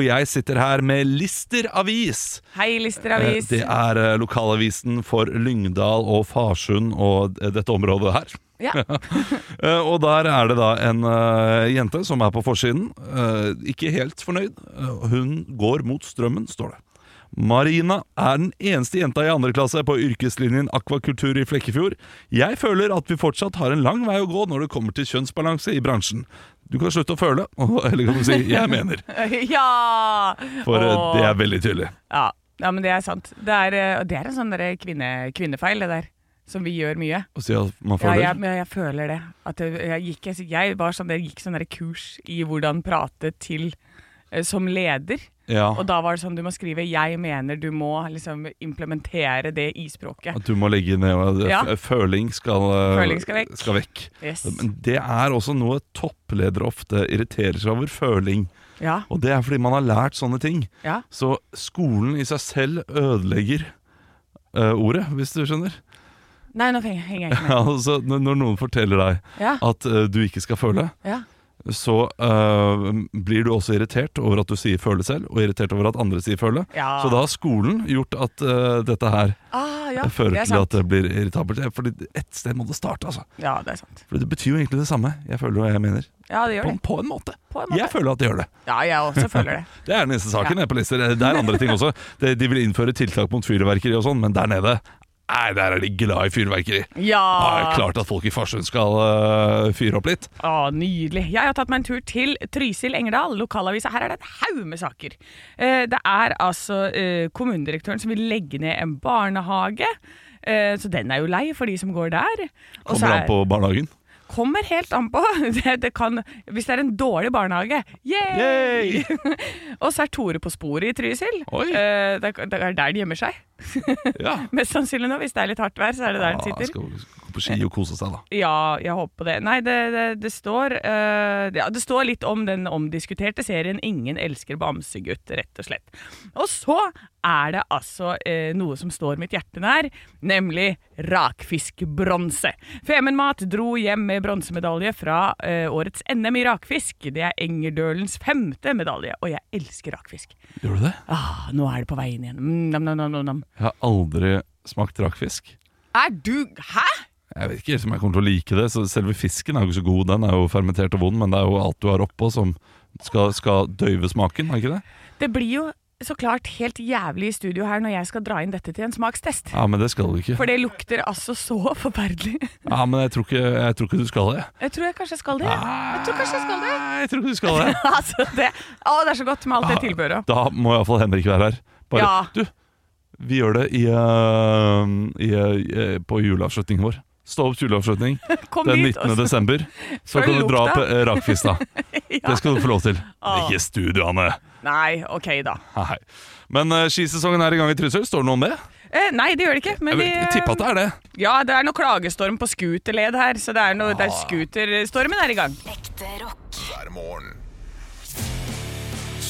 A: Og jeg sitter her med Lister Avis.
B: Hei, Lister Avis.
A: Eh, Det er eh, lokalavisen for Lyngdal og Farsund og eh, dette området her.
B: Ja.
A: Eh, og der er det da en eh, jente som er på forsiden. eh, ikke helt fornøyd. Eh, hun går mot strømmen, står det. Marina er den eneste jenta i andre klasse på yrkeslinjen akvakultur i Flekkefjord. Jeg føler at vi fortsatt har en lang vei å gå når det kommer til kjønnsbalanse i bransjen. Du kan slutte å føle, eller kan du si 'jeg mener',
B: Ja!
A: for eh,
B: Åh.
A: det er veldig tydelig.
B: ja. ja, men det er sant. Det er, eh, det er en sånn derre kvinne, kvinnefeil, det der. Som vi gjør mye.
A: Å si at man
B: Ja,
A: føler
B: jeg, men jeg føler det. At jeg, jeg, gikk, jeg, jeg var sånn, jeg gikk sånn der kurs i hvordan prate til eh, som leder.
A: Ja,
B: Og da var det sånn du må skrive 'jeg mener', du må liksom implementere det i språket.
A: at du må legge ned og
B: Ja.
A: f- Føling skal, eh,
B: Føling skal vekk.
A: skal vekk.
B: Yes.
A: Men det er også noe toppledere ofte irriterer seg over føling.
B: Ja,
A: Og det er fordi man har lært sånne ting.
B: ja.
A: Så skolen i seg selv ødelegger eh, ordet, hvis du skjønner.
B: Nei, nå henger henger jeg ikke med.
A: altså, når- når noen forteller deg
B: Ja,
A: at eh, du ikke skal føle,
B: ja.
A: så eh, blir du også irritert over at du sier føle selv, og irritert over at andre sier føle.
B: Ja.
A: Så da har skolen gjort at eh, dette her
B: Ah, ja.
A: Jeg fører
B: Det er
A: til
B: sant.
A: at det blir irritabelt. Fordi ett sted må det starte, altså.
B: Ja, det er sant.
A: For det betyr jo egentlig det samme. Jeg føler hva jeg mener.
B: Ja, det gjør
A: På,
B: det.
A: på en måte.
B: På en måte.
A: Jeg føler at det gjør det.
B: Ja, jeg også føler det.
A: Det er den eneste saken jeg er på lister. Det er andre ting også. De, de vil innføre tiltak mot fyrverkeri og sånn, men der nede Nei, der er de glad i fyrverkeri. Da er det
B: Ja!
A: klart at folk i Farsund skal øh, fyre opp litt.
B: Ah, nydelig. Jeg har tatt meg en tur til Trysil Engerdal, lokalavisa. Her er det en haug med saker. Eh, det er altså eh, kommunedirektøren som vil legge ned en barnehage. Eh, så den er jo lei for de som går der. Og så
A: Kommer
B: er-
A: an på barnehagen.
B: Kommer helt an på. Det, det kan, hvis det er en dårlig barnehage Yay! og så er Tore på sporet i Trysil.
A: Oi.
B: Eh, det, er- det er der de gjemmer seg.
A: Ja.
B: Mest sannsynlig nå, hvis det er litt hardt vær, så er det der
A: Ja,
B: den sitter.
A: skal gå på ski og kose seg, da.
B: Ja, jeg håper på det. Nei, det, det, det står eh, ja, Det står litt om den omdiskuterte serien 'Ingen elsker bamsegutt', rett og slett. Og så er det altså eh, noe som står mitt hjerte nær, nemlig rakfiskbronse. Femundmat dro hjem med bronsemedalje fra eh, årets NM i rakfisk. Det er Engerdølens femte medalje, og jeg elsker rakfisk.
A: Gjør du det?
B: Ah, nå er det på veien igjen. Mm, nam, nam, nam, nam, nam.
A: Jeg har aldri smakt rakfisk.
B: Er du Hæ?!
A: Jeg vet ikke helt om jeg kommer til å like det. Så selve fisken er jo ikke så god, den er jo fermentert og vond, men det er jo alt du har oppå som skal, skal døyve smaken, er ikke det?
B: Det blir jo så klart helt jævlig i studio her når jeg skal dra inn dette til en smakstest.
A: Ja, men det skal du ikke.
B: For det lukter altså så forferdelig.
A: Ja, men jeg tror ikke, jeg tror ikke du skal det.
B: Jeg tror jeg kanskje skal det. ja.
A: Ah.
B: Jeg tror kanskje jeg skal det.
A: Nei, jeg tror ikke du skal det.
B: Altså, det, å, det er så godt med alt
A: Ah.
B: det tilbøret.
A: Da må iallfall Henrik være her. Bare
B: Ja.
A: Du, vi gjør det i, øh, i, øh, på juleavslutningen vår. Stå opp juleavslutning
B: Kom
A: den
B: dit.
A: 19.
B: og så-
A: desember. Så
B: Følg
A: kan du dra
B: lukta.
A: opp eh, rakfisk, da.
B: Ja.
A: Det skal du få lov til.
B: Ah.
A: Ikke i studio, Anne.
B: Nei, ok da.
A: Nei. Men eh, skisesongen er i gang i Trysil. Står det noe om det?
B: Eh, nei, det gjør det ikke. Men
A: Jeg
B: de,
A: vil tippe at det er det.
B: ja, det er noe klagestorm på scooterled her, så det er noe der
A: Ah.
B: scooterstormen er i gang.
F: Ekte rock.
C: hver morgen.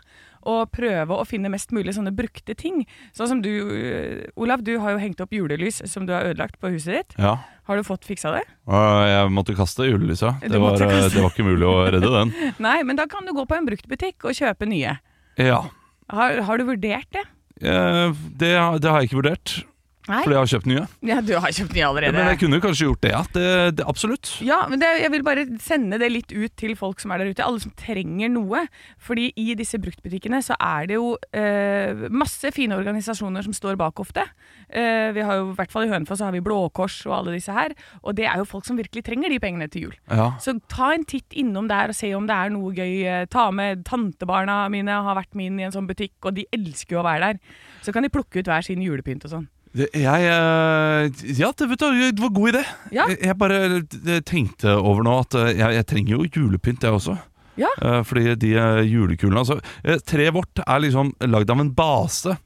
B: og prøve å finne mest mulig sånne brukte ting. Sånn som du, øh, Olav, du har jo hengt opp julelys som du har ødelagt på huset ditt.
A: Ja.
B: Har du fått fiksa det?
A: Og Eh, Jeg måtte kaste julelysa.
B: Du
A: Det,
B: måtte
A: var, eh,
B: kaste.
A: det var ikke mulig å redde den.
B: Nei, men da kan du gå på en bruktbutikk og kjøpe nye.
A: Ja.
B: Har, har du vurdert det?
A: Eh, Det, har- det har jeg ikke vurdert,
B: Nei.
A: fordi jeg har kjøpt nye.
B: Ja, du har kjøpt nye
A: Ja,
B: allerede.
A: men jeg kunne jo kanskje gjort det, ja. Det, det, absolutt.
B: Ja, men det, jeg vil bare sende det litt ut til folk som er der ute, alle som trenger noe. Fordi i disse bruktbutikkene så er det jo eh, masse fine organisasjoner som står bak ofte. Eh, vi har jo, I hvert fall i Hønefoss så har vi Blå Kors og alle disse her. Og det er jo folk som virkelig trenger de pengene til jul.
A: Ja.
B: Så ta en titt innom der og se om det er noe gøy. Eh, Ta med tantebarna mine, har vært med inn i en sånn butikk, og de elsker jo å være der. Så kan de plukke ut hver sin julepynt og sånn.
A: Det- Jeg eh, Ja, det, vet du, det var god idé.
B: Ja.
A: Jeg, jeg bare eh, tenkte over nå at eh, jeg, jeg trenger jo julepynt, jeg også.
B: Ja.
A: Eh, Fordi de eh, julekulene altså, eh, Treet vårt er liksom lagd av en base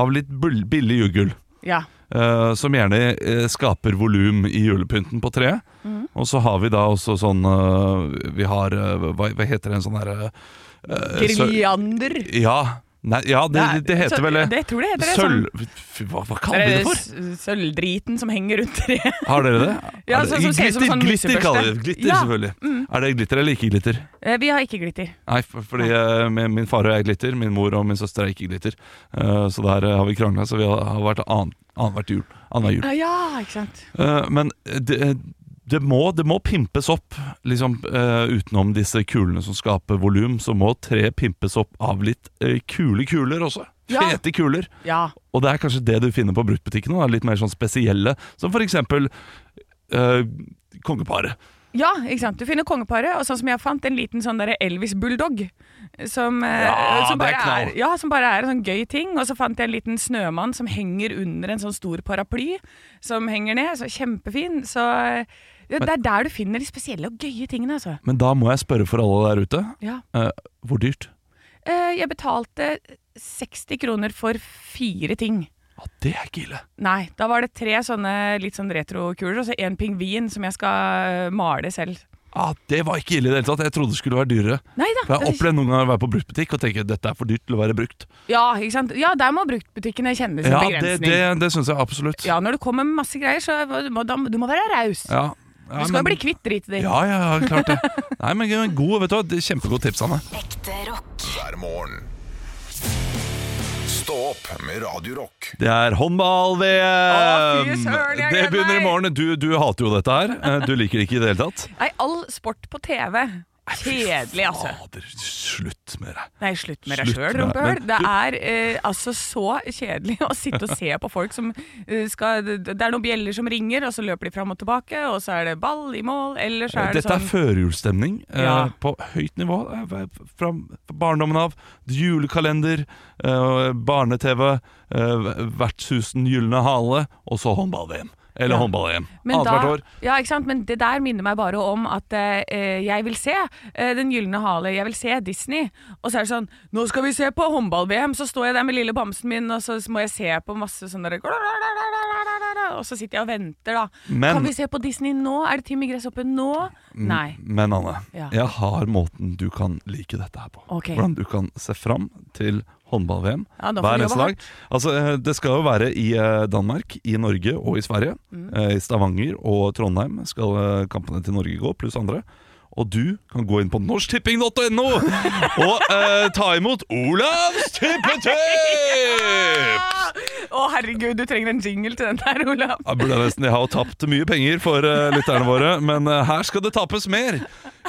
A: av litt bull- billig juggel.
B: Ja.
A: eh, som gjerne eh, skaper volum i julepynten på treet.
B: Mm.
A: Og så har vi da også sånn eh, Vi har eh, hva, hva heter det, en sånn herre
B: Girliander.
A: Ja. Nei, ja, Eh, det,
B: Nei,
A: det, det heter
B: så-
A: vel
B: det tror jeg det heter, det,
A: Sølv... Fy, hva, hva kaller vi
B: Det
A: det
B: er
A: for?
B: s- Sølvdriten som henger rundt treet.
A: Har dere det?
B: Ja,
A: Er det-
B: sånn som ser ut som
A: glitter,
B: sånn
A: glitter
B: musebørste.
A: kaller vi det. Glitter,
B: Ja, Mm.
A: selvfølgelig. Er det glitter eller ikke glitter?
B: Eh, Vi har ikke glitter.
A: Nei, for- fordi eh, min min far og jeg er glitter, min mor og min søster er ikke glitter. Eh, så der eh, har vi krangla, så vi har, har vært annen- annethvert jul. Annenhver jul.
B: Ah, ja, ikke sant.
A: Eh, men det, det, må, det må pimpes opp, liksom eh, utenom disse kulene som skaper volum. Så må treet pimpes opp av litt eh, kule kuler også.
B: Ja.
A: Fete kuler.
B: Ja.
A: Og det er kanskje det du finner på bruktbutikkene. da, Litt mer sånn spesielle. Som for eksempel eh, kongeparet.
B: ja, ikke sant. Du finner kongeparet, og sånn som jeg fant, en liten sånn derre Elvis Bulldog. Som, eh,
A: Ja,
B: som,
A: det er
B: bare
A: knall.
B: ja, som bare er en sånn gøy ting. Og så fant jeg en liten snømann som henger under en sånn stor paraply. Som henger ned. Så kjempefin. Så eh, det er der du finner de spesielle og gøye tingene, altså.
A: Men da må jeg spørre for alle der ute.
B: Ja.
A: eh, hvor dyrt?
B: Eh, Jeg betalte 60 kroner for fire ting.
A: Ja, det er ikke ille.
B: Nei, da var det tre sånne litt sånn retrokuler, og så en pingvin som jeg skal øh, male selv.
A: Ja, det var ikke ille i det hele tatt. Jeg trodde det skulle være dyrere.
B: Nei da.
A: For Jeg har opplevd noen ganger å være på bruktbutikk og tenke dette er for dyrt til å være brukt.
B: Ja, ikke sant? ja, der må bruktbutikkene kjenne sin
A: Ja, det,
B: begrensning.
A: det, det syns jeg absolutt.
B: Ja, når du kommer med masse greier, så må du, må- da, du må være raus.
A: ja. Ja,
B: du skal
A: men-
B: bli kvitt dritet ditt.
A: Ja, ja, ja, klart det. Nei, men god, vet du hva. Det er Kjempegode tips, Anne.
F: Ekte rock.
C: hver morgen. Stå opp med Radio Rock.
A: Det er
B: Å, fy
A: håndball-VM!
B: søren, jeg
A: Det
B: gleder
A: begynner i
B: meg.
A: morgen. Du, du hater jo dette her. Eh, Du liker det ikke i det hele tatt.
B: Nei, all sport på TV. Kjedelig, altså.
A: Fader, slutt med det.
B: Nei, slutt med deg
A: Slutt
B: sjøl,
A: med det.
B: rumpehull.
A: Men
B: Det
A: du-
B: er eh, altså så kjedelig å sitte og se på folk som eh, skal Det er noen bjeller som ringer, og så løper de fram og tilbake, og så er det ball i mål, eller så er det
A: Dette er
B: sånn
A: førjulsstemning eh,
B: Ja.
A: på høyt nivå. eh, Fra barndommen av. Julekalender, eh, barne-TV, eh, vertshusen Gylne hale, og så håndball-VM. Eller
B: Ja.
A: håndball-EM.
B: Men,
A: Annethvert år.
B: da, ja, ikke sant? men det der minner meg bare om at eh, jeg vil se eh, Den gylne hale, jeg vil se Disney. Og så er det sånn Nå skal vi se på håndball-VM! Så står jeg der med lille bamsen min, og så må jeg se på masse sånn derre Og så sitter jeg og venter, da.
A: Men-
B: kan vi se på Disney nå? Er det Tim i Gresshoppen nå? Nei.
A: Men Anne,
B: Ja.
A: jeg har måten du kan like dette her på.
B: Ok.
A: Hvordan du kan se fram til håndball-VM
B: Ja, da får
A: hver
B: vi
A: eneste
B: jobbe
A: dag. Altså, eh, det skal jo være i eh, Danmark, i Norge og i Sverige.
B: Mm.
A: Eh, I Stavanger og Trondheim skal eh, kampene til Norge gå, pluss andre. Og du kan gå inn på norsktipping.no og eh, ta imot Olavs tippetips!
B: Å herregud, du trenger en jingle til den der, Olav.
A: Jeg burde nesten Jeg har jo tapt mye penger for eh, lytterne våre, men eh, her skal det tapes mer.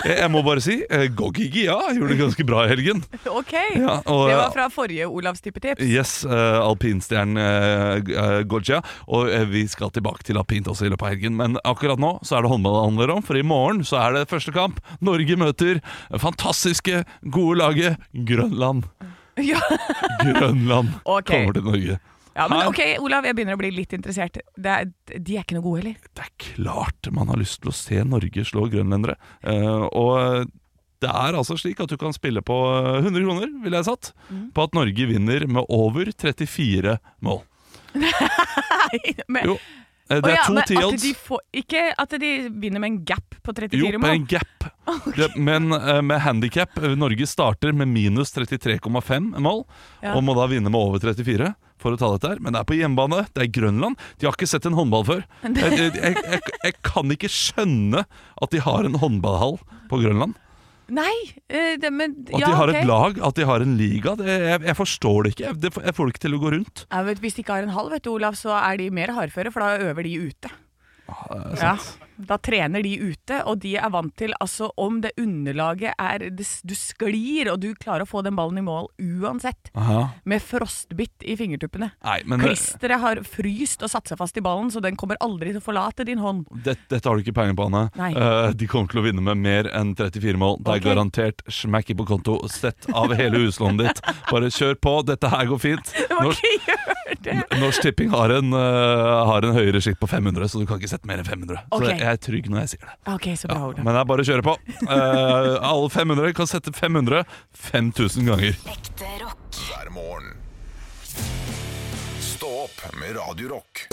A: Jeg, jeg må bare si uh, Gogigi ja, gjorde det ganske bra i helgen.
B: Ok.
A: Ja, og,
B: det var fra forrige Olavs tippetips.
A: Yes, eh, alpinstjernen eh, eh, Gogia. Og eh, vi skal tilbake til alpint også i løpet av helgen. Men akkurat nå så er det håndball det handler om, for i morgen så er det første kamp. Norge møter fantastiske, gode laget Grønland.
B: Ja.
A: Grønland
B: Ok.
A: kommer til Norge.
B: ja, men
A: Her-
B: ok, Olav, jeg begynner å bli litt interessert. Det er, de er ikke noe gode, eller?
A: det er klart man har lyst til å se Norge slå grønlendere. Eh, og det er altså slik at du kan spille på eh, 100 kroner, ville jeg satt,
B: Mm.
A: på at Norge vinner med over 34 mål.
B: Nei, men
A: Jo. Eh, Det
B: Å
A: er
B: ja,
A: to
B: men at
A: tiodds.
B: de får, ikke at de begynner med en gap på 34
A: Jo, med en
B: mål.
A: gap. Det, men eh, med handikap Norge starter med minus 33,5 mål
B: Ja.
A: og må da vinne med over 34 for å ta dette her. Men det er på hjemmebane, det er Grønland. De har ikke sett en håndball før. Jeg, jeg, jeg, jeg, jeg kan ikke skjønne at de har en håndballhall på Grønland.
B: Nei! eh, Det, men,
A: At
B: ja,
A: de har
B: ok.
A: et lag, at de har en liga. Det, jeg, jeg forstår det ikke. Jeg, det, jeg får det ikke til å gå rundt.
B: Ja, vet, hvis de ikke har en halv, vet du, Olav, så er de mer hardføre, for da øver de ute.
A: Ah,
B: Ja, da trener de ute, og de er vant til altså om det underlaget er det, s- Du sklir, og du klarer å få den ballen i mål uansett. Med frostbitt i fingertuppene.
A: Nei, men det,
B: Klisteret har fryst og satt seg fast i ballen, så den kommer aldri til å forlate din hånd.
A: det, dette har du ikke peiling på, Anne.
B: Nei.
A: Eh, de kommer til å vinne med mer enn 34 mål. Det er
B: Ok.
A: garantert smekk i på konto, sett av hele huslånet ditt. Bare kjør på, dette her går fint.
B: Det var
A: Norsk,
B: ikke gjør det!
A: Norsk Tipping har en, eh, har en høyere skitt på 500, så du kan ikke sette mer enn 500.
B: Ok.
A: Så jeg er trygg når jeg sier det.
B: Ok, så bra, Olav.
A: Men det er bare å kjøre på. Eh, alle 500 kan sette 500 5000 ganger.
F: Ekte rock.
C: hver morgen. Stå opp med Radio Rock.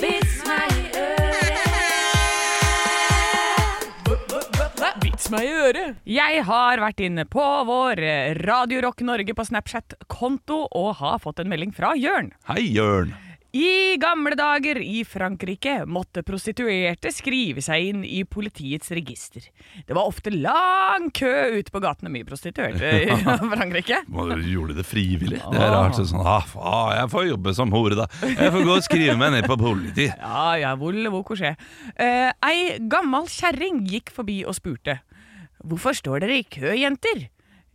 B: Vits meg i øret! Jeg har vært inne på vår eh, Radio Rock Norge på Snapchat-konto og har fått en melding fra Jørn.
A: Hei, Jørn.
B: I gamle dager i Frankrike måtte prostituerte skrive seg inn i politiets register. Det var ofte lang kø ute på gatene, mye prostituerte i Frankrike.
A: Man gjorde det frivillig. Det er rart. det er Sånn, ah, faen, jeg får jobbe som hore, da. Jeg får gå og skrive meg ned på politi.
B: Ja, ja, volle hvor kosje. Eh, ei gammal kjerring gikk forbi og spurte. Hvorfor står dere i kø, jenter?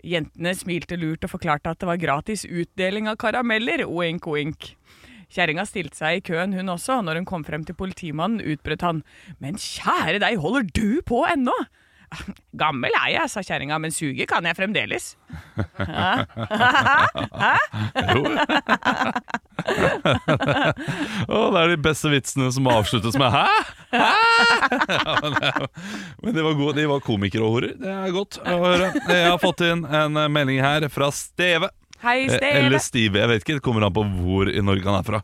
B: Jentene smilte lurt og forklarte at det var gratis utdeling av karameller, oink oink. Kjerringa stilte seg i køen hun også, og når hun kom frem til politimannen utbrøt han. Men kjære deg, holder du på ennå? Gammel er jeg, sa kjerringa, men suge kan jeg fremdeles.
A: Jo. Å, det er de beste vitsene som avsluttes med 'hæ?! Hæ?! Ja, men det- Men de var, gode, de var komikere og horer. Det er godt å høre. Jeg har fått inn en eh, melding her fra Steve.
B: Hei,
A: Eh,
B: Steve.
A: Eller Steve, jeg vet ikke. Det kommer an på hvor i Norge han er fra.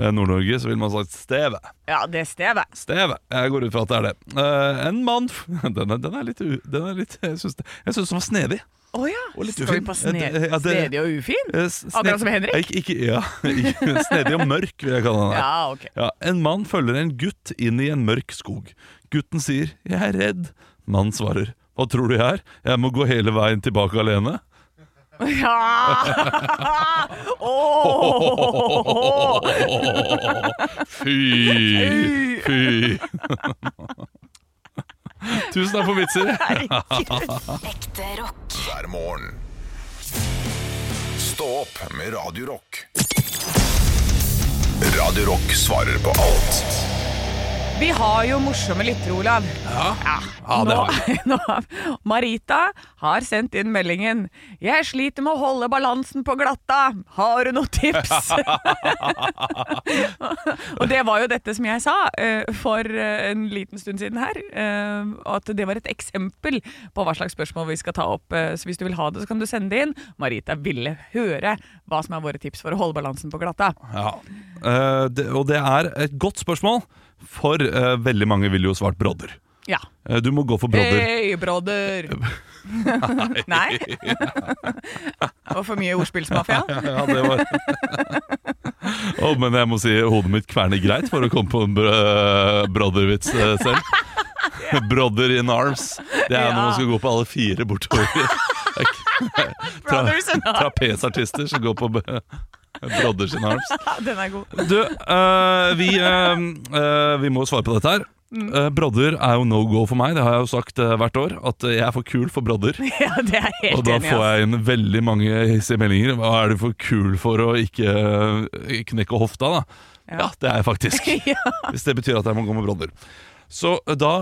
A: Eh, Nord-Norge så vil man ha sagt Steve.
B: Ja, det er Steve.
A: Steve. Jeg går ut fra at det er det. Eh, en mann f- den er, den er litt, u- den er litt Jeg syns den var snedig.
B: Å ja.
A: Og litt
B: Skal vi
A: ufin.
B: på sne
A: Eh, det- ja, det-
B: snedig og ufin?
A: Eh, s-
B: Akkurat
A: sne-
B: som Henrik?
A: Eh, Ikke, ikke, ja, ikke- snedig og mørk, vil jeg kalle han. her.
B: Ja, ok.
A: Ja, en mann følger en gutt inn i en mørk skog. Gutten sier 'jeg er redd'. Mannen svarer 'hva tror du jeg er? Jeg må gå hele veien tilbake alene'.
B: Ja! Åh!
A: Fy! Fy! Tusen takk for vitser.
F: Ekte rock.
C: Hver morgen. Stå opp med Radio Rock. Radio Rock svarer på alt.
B: Vi har jo morsomme lyttere, Olav.
A: Ja, det har vi.
B: Nå, nå, Marita har sendt inn meldingen. 'Jeg sliter med å holde balansen på glatta. Har du noen tips?' og det var jo dette som jeg sa eh, for eh, en liten stund siden her. eh, og at det var et eksempel på hva slags spørsmål vi skal ta opp. eh, så hvis du vil ha det, så kan du sende det inn. Marita ville høre hva som er våre tips for å holde balansen på glatta.
A: Ja. Eh, det, og det er et godt spørsmål, for eh, veldig mange ville jo svart brodder.
B: Ja.
A: Eh, du må gå for brodder.
B: Hei, broder! Nei? Og for mye ordspillsmafia?
A: Ja, det var Å, Men jeg må si hodet mitt kverner greit for å komme på en br broddervits eh, selv. Brodder in arms. Det er når man skal gå på alle fire bortover. Det er ikke-
B: Brothers in arms.
A: Trapesartister som går på b- brodders in arms.
B: Ja, den er god.
A: Du, øh, vi, øh, øh, vi må svare på dette her. Eh, brodder er jo no go for meg, det har jeg jo sagt eh, hvert år. At eh, jeg er for kul for brodder.
B: Ja, det er jeg helt
A: Og da
B: enig i.
A: får
B: ass.
A: jeg inn veldig mange hissige meldinger. Hva er du for kul for å ikke eh, knekke hofta, da? Ja, det er jeg faktisk. Hvis det betyr at jeg må gå med brodder. Så eh, da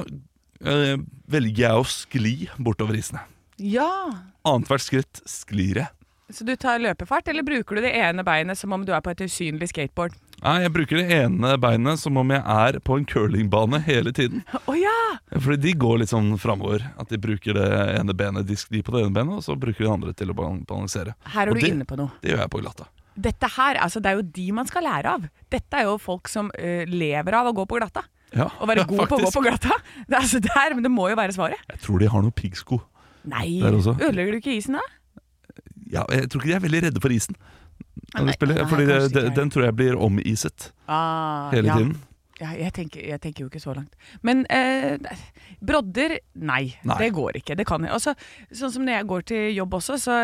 A: eh, velger jeg å skli bortover isene.
B: Ja.
A: Annethvert skritt sklir jeg.
B: Så du tar løpefart, eller bruker du det ene beinet som om du er på et usynlig skateboard?
A: Nei, jeg bruker det ene beinet som om jeg er på en curlingbane hele tiden.
B: Å ja!
A: Fordi de går litt sånn framover. At de bruker det ene benet, de sklir på det ene benet, og så bruker de det andre til å bal- balansere.
B: Her
A: Og
B: er du
A: det,
B: inne på noe.
A: Det gjør jeg på glatta.
B: Dette her, altså Det er jo de man skal lære av. Dette er jo folk som eh, lever av å gå på glatta.
A: Ja,
B: Å være god på å gå
A: faktisk.
B: på glatta. Det, er altså der, men det må jo være svaret.
A: Jeg tror de har noen piggsko.
B: Nei,
A: Der også.
B: ødelegger du ikke isen da?
A: Ja, jeg tror ikke de er veldig redde for isen. Når de
B: Nei,
A: spiller,
B: nei,
A: fordi
B: kanskje
A: det-
B: ikke.
A: Den tror jeg blir omiset
B: Ah,
A: hele
B: ja.
A: tiden.
B: Ja, jeg, tenker, jeg tenker jo ikke så langt. Men eh, brodder, nei,
A: Nei.
B: Det går ikke. Det kan jeg. Altså, sånn som når jeg går til jobb også, så,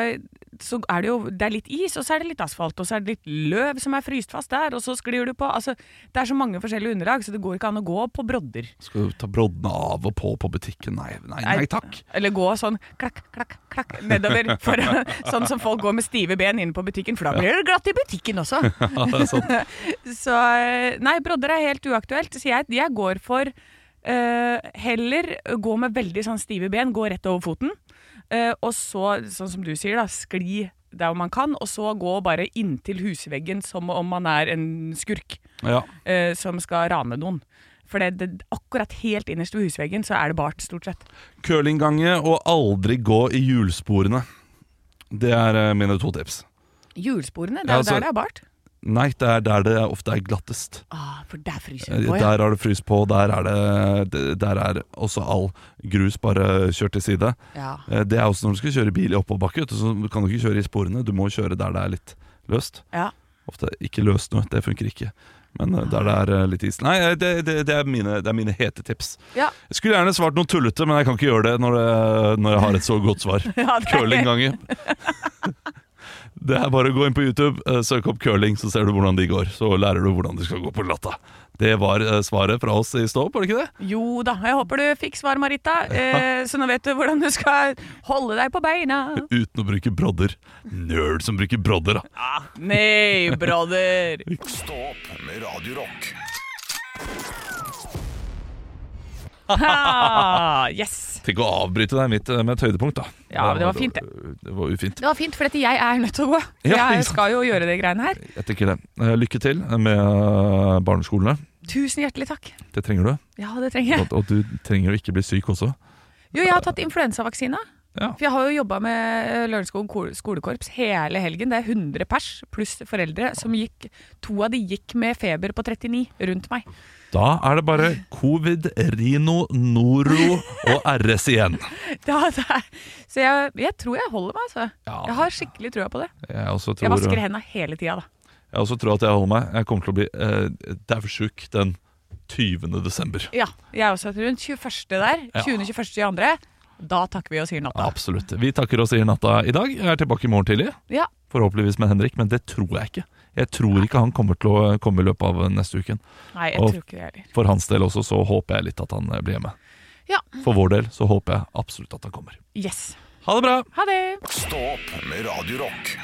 B: så er det jo det er litt is, og så er det litt asfalt, og så er det litt løv som er fryst fast der, og så sklir du på. Altså, det er så mange forskjellige underlag, så det går ikke an å gå på brodder.
A: Skal du ta broddene av og på på butikken? Nei, nei, nei takk.
B: Eller gå sånn klakk, klakk, klakk nedover. For, sånn som folk går med stive ben inn på butikken, for da blir det glatt i butikken også.
A: Ja, det er sant.
B: Så eh, nei, brodder er helt uaktuelt. Så jeg, jeg går for eh, heller gå med veldig sånn stive ben, gå rett over foten. eh, og så, sånn som du sier, da, skli der hvor man kan, og så gå bare inntil husveggen som om man er en skurk
A: Ja.
B: eh, som skal rane noen. For det, det, akkurat helt innerst ved husveggen så er det bart, stort sett.
A: Curlinggange og aldri gå i hjulsporene. Det er eh, mine to tips.
B: Hjulsporene, det
A: Ja,
B: er jo
A: altså-
B: der det er bart.
A: Nei, det er der det ofte er glattest.
B: Ah, for der fryser
A: Eh,
B: hun på, ja.
A: Der har det frys på, der er, det, det- der er også all grus bare kjørt til side.
B: ja.
A: Eh, Det er også når du skal kjøre bil i oppoverbakke, vet du, så du kan du ikke kjøre i sporene. Du må kjøre der det er litt løst.
B: Ja.
A: Ofte ikke løst nå, det funker ikke. Men eh, der det er eh, litt is. Nei, eh, det, det, det, er mine, det er mine hete tips.
B: Ja.
A: Jeg skulle gjerne svart noe tullete, men jeg kan ikke gjøre det når, det, når jeg har et så godt svar.
B: Ja, det er-
A: Curlinggange. Det er bare å gå inn på YouTube, eh, søk opp curling, så ser du hvordan de går. Så lærer du hvordan du skal gå på glatta. Det var eh, svaret fra oss i stå opp, var det ikke det?
B: Jo da, jeg håper du fikk svar, Marita. Eh, så nå vet du hvordan du skal holde deg på beina.
A: Uten å bruke brodder. Nerd som bruker brodder, da.
B: Nei, brother!
C: Stå opp med Radio Rock.
B: Ah, yes!
A: Tenk å avbryte deg midt eh, med et høydepunkt, da.
B: Ja, men det var fint, det.
A: det. Det var ufint.
B: Det var fint, for dette jeg er nødt til å gå.
A: Ja, ikke
B: Jeg
A: sant.
B: skal jo gjøre de greiene her.
A: Jeg tenker det. Eh, Lykke til med eh, barneskolene.
B: Tusen hjertelig takk.
A: Det trenger du.
B: Ja, det trenger jeg.
A: Og, og du trenger å ikke bli syk også.
B: Jo, jeg har tatt influensavaksina.
A: Ja.
B: For jeg har jo jobba med eh, Lørenskog ko- skolekorps hele helgen. Det er 100 pers pluss foreldre som gikk To av de gikk med feber på 39 rundt meg.
A: Da er det bare covid, rino, noro og RS igjen.
B: Ja, det er. Så jeg, jeg tror jeg holder meg, altså.
A: Ja.
B: Jeg har skikkelig trua på det.
A: Jeg også tror,
B: Jeg vasker hendene hele tida, da.
A: Jeg også tror at jeg holder meg. Jeg kommer til å bli eh, dævsjuk den 20. desember.
B: Ja, jeg også. Rundt 21. der.
A: Ja.
B: 20. 21. 22. Da takker vi og sier natta.
A: Absolutt. Vi takker oss i natta i dag. Jeg er tilbake i morgen tidlig,
B: Ja.
A: forhåpentligvis med Henrik, men det tror jeg ikke. Jeg tror ikke han kommer til å eh, komme i løpet av neste uken.
B: Nei, jeg
A: Og-
B: tror ikke det heller.
A: For hans del også, så håper jeg litt at han eh, blir hjemme.
B: Ja.
A: For vår del så håper jeg absolutt at han kommer.
B: Yes.
A: Ha det bra!
B: Ha det!
C: Stå opp med Radio Rock.